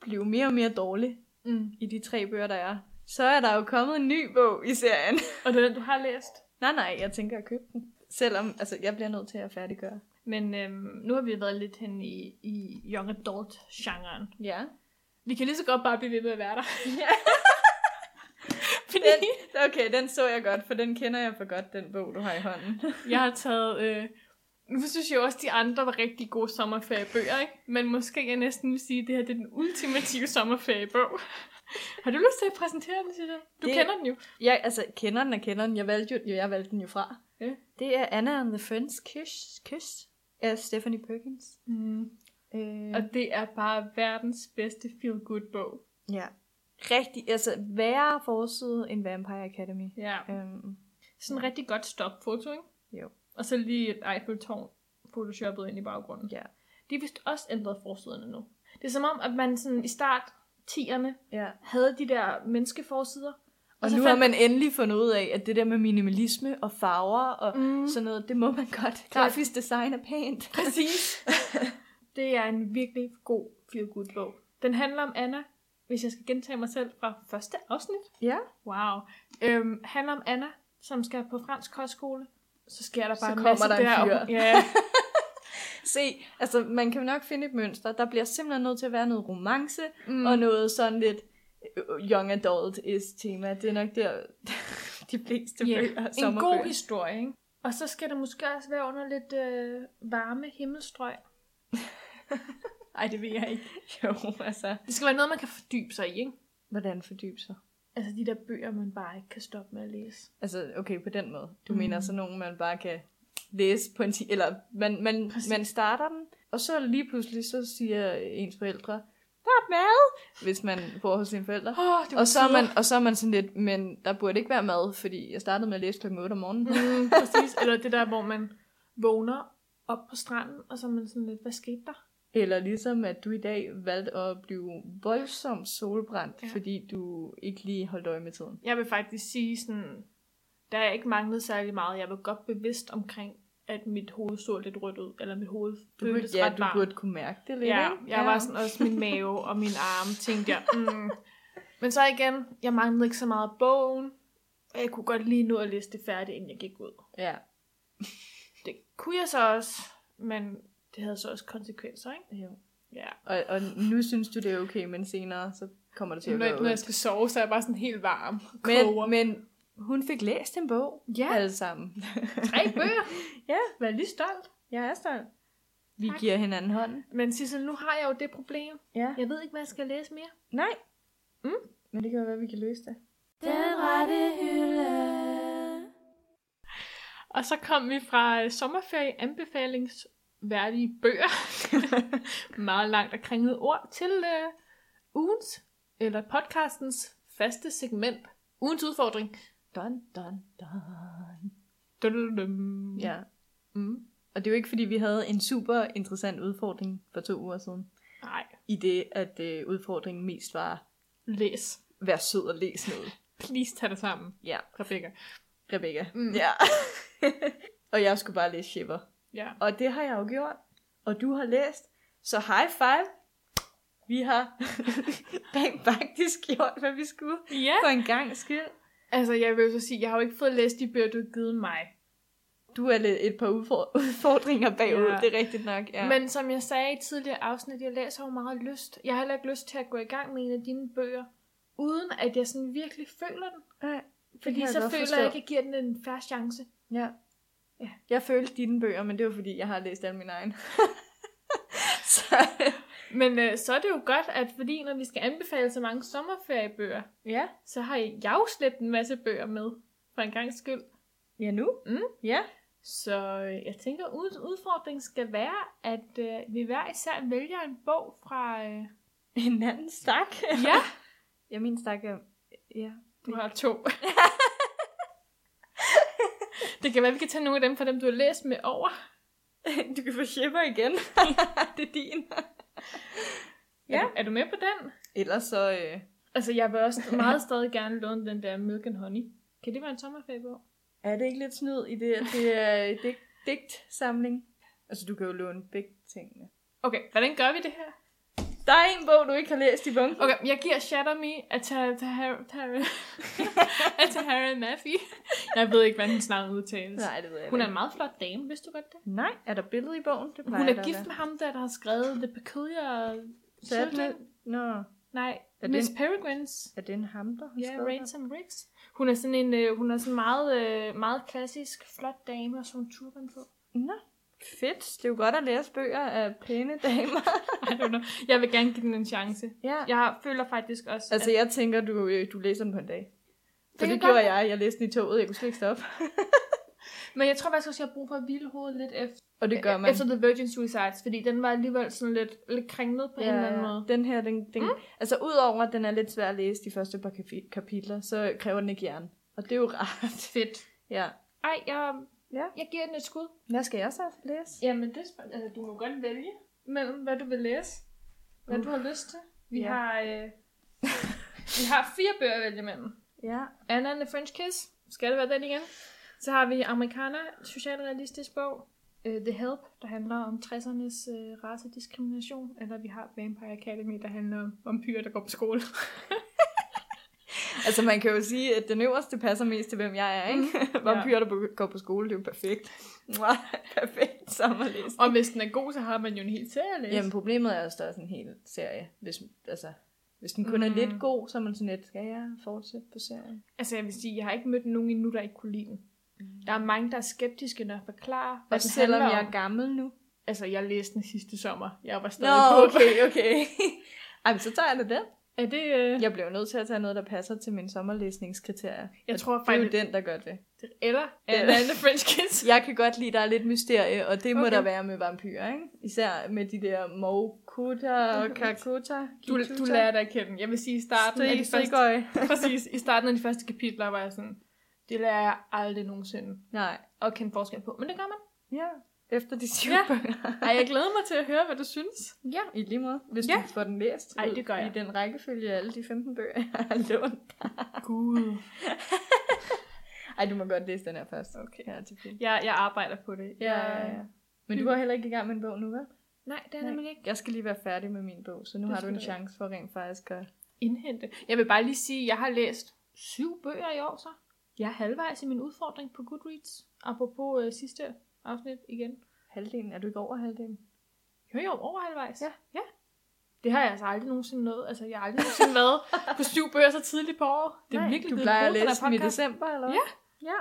blev mere og mere dårlig, Mm. i de tre bøger, der er, så er der jo kommet en ny bog i serien. Og det er den, du har læst. nej, nej, jeg tænker at købe den. Selvom, altså, jeg bliver nødt til at færdiggøre. Men øhm, nu har vi været lidt hen i, i young adult-genren. Ja. Vi kan lige så godt bare blive ved med at være der. Den, okay, den så jeg godt, for den kender jeg for godt, den bog, du har i hånden. Jeg har taget... Øh, nu synes jeg også, at de andre var rigtig gode sommerferiebøger, ikke? Men måske jeg næsten vil sige, at det her det er den ultimative sommerferiebog. Har du lyst til at præsentere den, Silla? Du Det- det... kender den jo. Jeg, altså, kender den og kender den. Jeg valgte, jo, jeg valgte den jo fra. Ja. Det er Anna and the Friends Kiss, Kiss af Stephanie Perkins. Mm. Øh, Og det er bare verdens bedste feel-good-bog. ja. Rigtig, altså værre forside end Vampire Academy. Ja. Øhm, Sådan en rigtig godt stopfoto, ikke? Jo. Og så lige et Eiffeltårn photoshoppet ind i baggrunden. Ja. De har vist også ændret forsiderne nu. Det er som om, at man sådan i start 10'erne ja. havde de der menneskeforsider. Og så nu fandt- har man endelig fundet ud af, at det der med minimalisme og farver og mm. Mm. sådan noget, det må man godt. Grafisk design er pænt. Præcis. det er en virkelig god feel good bog. Den handler om Anna, hvis jeg skal gentage mig selv fra første afsnit. Ja, Wow. Øhm, handler om Anna, som skal på fransk kostskole. Så sker der Så bare en kommer masse der en der. fyr. og- Ja, se, altså man kan nok finde et mønster. Der bliver simpelthen nødt til at være noget romance mm. Mm. og noget sådan lidt øh, young adult is tema. Det er nok der, de fleste Ja, bøger, en god sommerbøger. historie, ikke? Og så skal det måske også være under lidt øh, varme himmelstrøg. Ej, det ved jeg ikke. Jo, altså. Det skal være noget, man kan fordybe sig i, ikke? Hvordan fordybe sig? Altså de der bøger, man bare ikke kan stoppe med at læse. Altså, okay, på den måde. Du Mm. mm. mener sådan nogen, man bare kan læse på en ti- eller man, man, Præcis. man starter den, og så lige pludselig, så siger ens forældre, der er mad, hvis man bor hos sine forældre. Åh, oh, Og så, er man, og så er man sådan lidt, men der burde ikke være mad, fordi jeg startede med at læse kl. 8 om morgenen. Mm, præcis. Eller det der, hvor man vågner op på stranden, og så er man sådan lidt, hvad skete der? Eller ligesom, at du i dag valgte at blive voldsomt solbrændt, Ja. ja. fordi du ikke lige holdt øje med tiden. Jeg vil faktisk sige sådan, der er ikke manglet særlig meget. Jeg var godt bevidst omkring, at mit hoved så lidt rødt ud, eller mit hoved Du, føltes burde, ja, ret du varmt. burde kunne mærke det lidt, Ja, ikke? jeg var sådan også min mave og min arme, tænkte jeg. Mm. Men så igen, jeg manglede ikke så meget bogen, og jeg kunne godt lige nå at læse det færdigt, inden jeg gik ud. Ja, Det kunne jeg så også, men det havde så også konsekvenser, ikke? jo. Ja. Og, og nu synes du, det er okay, men senere, så kommer det til at Når, gå når ud. jeg skal sove, så er jeg bare sådan helt varm. Men, men hun fik læst en bog, Ja. alle sammen. tre bøger. Ja, Vær lige stolt. jeg er stolt. Vi Tak. giver hinanden hånden. Men Sissel, nu har jeg jo det problem. Ja. Jeg ved ikke, hvad jeg skal læse mere. Nej. Mm. Men det kan jo være, vi kan løse det. Den rette hylde. Og så kom vi fra øh, sommerferie anbefalingsværdige bøger. Meget langt og kringlet ord til øh, ugens, eller podcastens faste segment. Ugens udfordring. Dun, dun, dun. Dun-dun-dun. Ja. Mm. Og det er jo ikke, fordi vi havde en super interessant udfordring for to uger siden. Nej, I det, at øh, udfordringen mest var, læs. vær sød og læs noget. Please tag dig sammen, Ja, Rebecca. Rebecca. Mm. Ja. og jeg skulle bare læse Shiver. Ja. Og det har jeg jo gjort. Og du har læst. Så high five. Vi har rent faktisk gjort, hvad vi skulle. ja. For en gang skyld. Altså, jeg vil jo så sige, jeg har jo ikke fået læst de bøger, du har givet mig. Du er lidt et par udfor- udfordringer bagud, Ja. ja. det er rigtigt nok. Ja. Men som jeg sagde i et tidligere afsnit, jeg læser jo meget lyst. Jeg har heller ikke lyst til at gå i gang med en af dine bøger, uden at jeg sådan virkelig føler den. Nej, Fordi så føler forstå. jeg ikke, at jeg giver den en færre chance. Ja. Ja. ja. Jeg følte dine bøger, men det var fordi, jeg har læst alle mine egne. så, Men øh, så er det jo godt, at fordi når vi skal anbefale så mange sommerferiebøger, ja. så har jeg jo slæbt en masse bøger med, for en gang skyld. Ja, nu? Mm. Ja. Så øh, jeg tænker, at ugens udfordring skal være, at øh, vi hver især vælger en bog fra... Øh... En anden stak. Ja, Ja, min stak er... Ja. du har to. det kan være, at vi kan tage nogle af dem fra dem, du har læst med over. Du kan få shipper igen. det er din. Ja. Ja. Er, du- er du med på den? Ellers så... Øh... Altså, jeg vil også meget stadig gerne låne den der Milk and Honey. Kan det være en sommerferiebog? Er det ikke lidt snyd i det, at det er dig- digtsamling? Altså, du kan jo låne begge tingene. Okay, hvordan gør vi det her? Der er en bog, du ikke har læst i bunken. Okay, jeg giver Shatter Me af Ta- Ta- Ta- af Tahara Maffey. Jeg ved ikke, hvordan hendes navn udtales. Nej, det ved jeg Hun er en ikke. meget flot dame, vidste du godt det? Nej, er der billede i bogen? Det Hun plejer der er at gift være. med ham der, der har skrevet The Peculiar Så er den... Children. Nå, Nej, Er det Miss en- Peregrines. er det en ham, der har Ja, skrevet den? Ransom Riggs. Hun er sådan en øh, hun er sådan meget, øh, meget klassisk, flot dame, og så har hun turban på. Nå, fedt. Det er jo godt at læse bøger af pæne damer. I don't know. Jeg vil gerne give den en chance. ja. Jeg føler faktisk også, Altså, at jeg tænker, du, øh, du læser den på en dag. For kan det, det godt gjorde jeg. Jeg læste den i toget. Jeg kunne slet ikke stoppe. men jeg tror faktisk også, jeg har brug for at hvile hovedet lidt efter, Og det gør man. efter The Virgin Suicides, fordi den var alligevel sådan lidt, lidt kringlet på ja, en eller anden måde. Den her, den, den, mm. altså udover at den er lidt svær at læse de første par kapi- kapitler, så kræver den ikke hjerne. Og det er jo rart. Fedt. ja. Ej, jeg, ja. Ja. jeg giver den et skud. Hvad skal jeg så læse? Jamen, det er spændende. altså, du må godt vælge mellem, hvad du vil læse, hvad uh. Uh. du har lyst til. Vi Ja. har... Øh, vi har fire bøger at vælge mellem. Ja. Anna and the French Kiss. Skal det være den igen? Så har vi Americana, socialrealistisk bog. Uh, The Help, der handler om 60'ernes uh, racediskrimination. Eller vi har Vampire Academy, der handler om vampyrer, der går på skole. Altså man kan jo sige, at den øverste passer mest til, hvem jeg er, ikke? Vampyrer, der be- går på skole, det er jo perfekt. Mwah, perfekt sommerlæsning. og hvis den er god, så har man jo en hel serie at læse. Jamen problemet er også, at der er sådan en hel serie. Hvis, altså, hvis den kun mm. er Mm. lidt god, så er man sådan lidt, skal jeg fortsætte på serien? Altså jeg vil sige, jeg har ikke mødt nogen endnu, der ikke kunne lide den. Der er mange, der er skeptiske, når jeg forklarer, hvad Mm. Og den selvom handler om. jeg er gammel nu. Altså, jeg læste den sidste sommer. Jeg var stadig Nå, på. okay, okay. Ej, men så tager jeg da den. Er det... Øh, Jeg bliver jo nødt til at tage noget, der passer til mine sommerlæsningskriterier. jeg tror Det er jo faktisk... den, der gør det. Eller Eller- Anna and the French Kids. Jeg kan godt lide, der er lidt mysterie, og det må Okay. okay. der være med vampyrer, ikke? Især med de der Mokuta og Kakuta. Du, du lærer dig at kende. Jeg vil sige, i starten af de første, første... præcis, i starten af de første kapitler var jeg sådan, det lærer jeg aldrig nogensinde Nej. at kende forskel på. Men det gør man. Ja. Efter de syv Ja. bøger. Ej, jeg glæder mig til at høre, hvad du synes. Ja, i lige måde. Hvis Ja. du får den læst Ej, ud det gør jeg. i den rækkefølge af alle de 15 bøger, jeg har lånt. Gud. Ej, du må godt læse den her først. Okay. Ja, til film. Jeg, jeg arbejder på det. Ja, ja, Mm. ja. Øh, Men du går heller ikke i gang med en bog nu, vel? Nej, det er Nej. nemlig ikke Jeg skal lige være færdig med min bog, så nu Det har du skal en du ikke. chance for rent faktisk at... indhente. Jeg vil bare lige sige, at jeg har læst syv bøger i år så. Jeg er halvvejs i min udfordring på Goodreads. Apropos øh, sidste afsnit igen. Halvdelen, er du ikke over halvdelen? Jo, jo, over halvvejs. Ja. ja. Det har jeg altså aldrig nogensinde nået. Altså, jeg har aldrig nogensinde været på syv bøger så tidligt på året. Det er Nej, virkelig du blevet plejer at brugt, den her læse dem i podcast. december, eller hvad? Ja. Ja.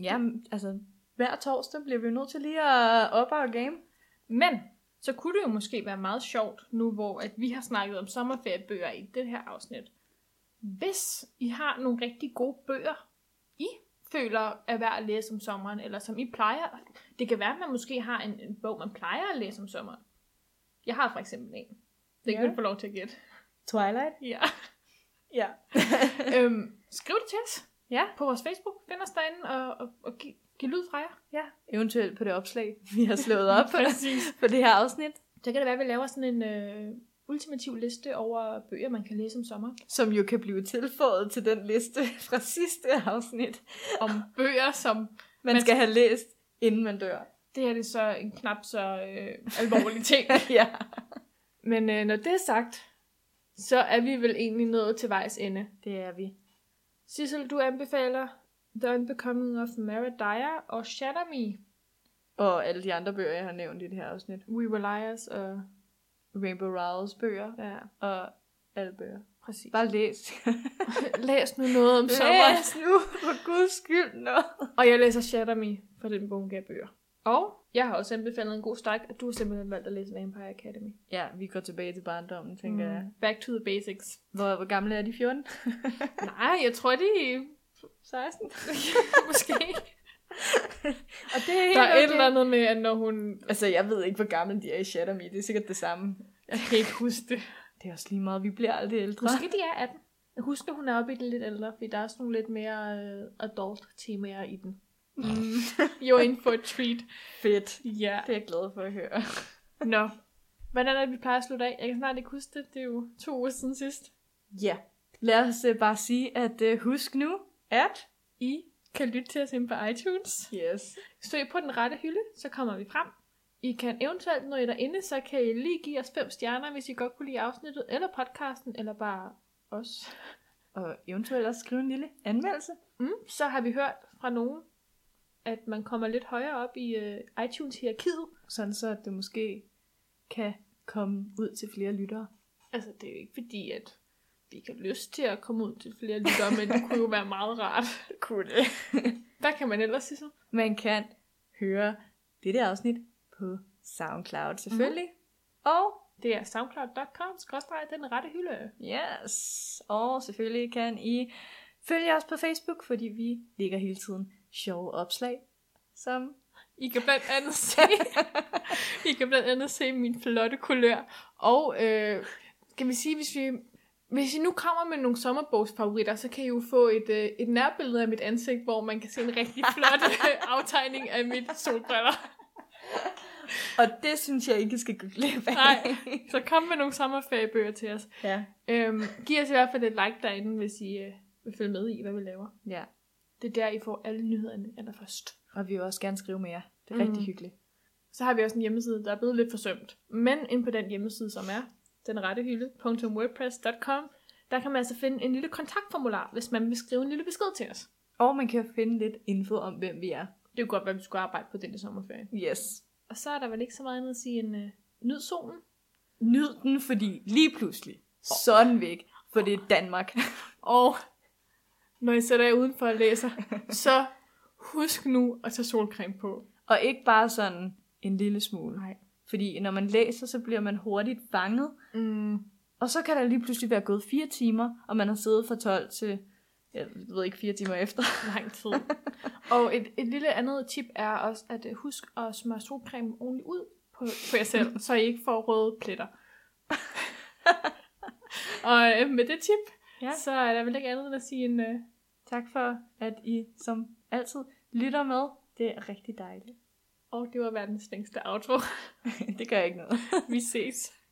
Ja, altså hver torsdag bliver vi jo nødt til lige at op our game. Men så kunne det jo måske være meget sjovt nu, hvor at vi har snakket om sommerferiebøger i det her afsnit. Hvis I har nogle rigtig gode bøger, I føler er værd at læse om sommeren, eller som I plejer. Det kan være, at man måske har en, en bog, man plejer at læse om sommeren. Jeg har for eksempel en. Det kan Ja. du få lov til at gætte. Twilight? Ja. Ja. øhm, skriv det til os Ja. på vores Facebook. Find os derinde og, og, og giv, giv lyd fra jer. Ja. Eventuelt på det opslag, vi har slået op Præcis. på det her afsnit. Så kan det være, at vi laver sådan en øh, ultimativ liste over bøger, man kan læse om sommeren. Som jo kan blive tilføjet til den liste fra sidste afsnit, Om bøger, som... man, Man man skal have læst, inden man dør. Det her det er så en knap så øh, alvorlig ting. ja. Men øh, når det er sagt, så er vi vel egentlig nået til vejs ende. Det er vi. Sissel, du anbefaler The Unbecoming of Mara Dyer og Shatter Me, Og alle de andre bøger, jeg har nævnt i det her afsnit. We Were Liars og... Rainbow Rowells bøger Ja, og alle bøger. præcis. Bare læs. Læs nu noget om sommeren. læs nu, for guds skyld noget. Og jeg læser Shatter Me fra den bunke af bøger. Og jeg har også anbefalet en god stak, at du har simpelthen valgt at læse Vampire Academy. Ja, vi går tilbage til barndommen, tænker mm. jeg. Back to the basics. Hvor, hvor gamle er de? 14? Nej, jeg tror, de er 16? måske. Og det er helt Der er okay. et eller andet med, at når hun... Altså, jeg ved ikke, hvor gammel de er i Shatter Me. Det er sikkert det samme. Jeg kan ikke huske det. Det er også lige meget. Vi bliver aldrig ældre. Måske de er 18. Jeg husker, hun er oppe i det lidt ældre, fordi der er sådan nogle lidt mere øh, adult temaer i den. Mm. You're in for a treat. Fedt. Ja. Det er jeg glad for at høre. Nå. Hvordan er det, vi plejer at slutte af? Jeg kan snart ikke huske det. Det er jo to uger siden sidst. Ja. Lad os uh, bare sige, at uh, husk nu, at... I kan lytte til os inde på iTunes. Yes. Søg på den rette hylde, så kommer vi frem. I kan eventuelt, når I er derinde, så kan I lige give os fem stjerner, hvis I godt kunne lide afsnittet, eller podcasten, eller bare os. Og eventuelt også skrive en lille anmeldelse. Mm, så har vi hørt fra nogen, at man kommer lidt højere op i øh, iTunes-hierarkiet. Sådan så, at det måske kan komme ud til flere lyttere. Altså, det er jo ikke fordi, at vi ikke har lyst til at komme ud til flere lyttere, men det kunne jo være meget rart. Kunne det. Der kan man ellers sige så. Man kan høre det der afsnit på SoundCloud selvfølgelig. Mm-hmm. Og Det er soundcloud.com, skråstreg den rette hylde. yes, og selvfølgelig kan I følge os på Facebook, fordi vi ligger hele tiden sjove opslag, som I kan blandt andet se, I kan blandt andet se min flotte kulør. Og øh, kan vi sige, hvis vi, hvis I nu kommer med nogle sommerbogsfavoritter, så kan I jo få et, øh, et nærbillede af mit ansigt, hvor man kan se en rigtig flot øh, aftegning af mit solbriller. Og det synes jeg ikke, I skal gå glip af. Nej. Så kom med nogle sommerferiebøger til os. Ja. Øhm, giv os i hvert fald et like derinde, hvis I øh, vil følge med i, hvad vi laver. ja. Det er der, I får alle nyhederne allerførst. Og vi vil også gerne skrive mere. Det er Mm. mm. rigtig hyggeligt. Så har vi også en hjemmeside, der er blevet lidt forsømt. Men ind på den hjemmeside, som er denrettehylde.wordpress.com, der kan man altså finde en lille kontaktformular, hvis man vil skrive en lille besked til os. Og man kan finde lidt info om, hvem vi er. Det kunne godt være, at vi skulle arbejde på den i sommerferien. Yes. Og så er der vel ikke så meget andet at sige end øh, nyd solen. Nyd den, fordi lige pludselig, sådan væk, for det er Danmark. Og når I sætter jer udenfor og læser, så husk nu at tage solcreme på. Og ikke bare sådan en lille smule. Nej. Fordi når man læser, så bliver man hurtigt fanget. Mm. Og så kan der lige pludselig være gået fire timer, og man har siddet fra 12 til, jeg ved ikke, fire timer efter. lang tid. og et, et lille andet tip er også, at øh, husk at smøre solcremen ordentligt ud på, på jer selv, så I ikke får røde pletter. og øh, med det tip, Ja. ja. så er der vel ikke andet end at sige en øh, Tak for, at I som altid lytter med. Det er rigtig dejligt. og det var verdens længste outro. det gør ikke noget. Vi ses.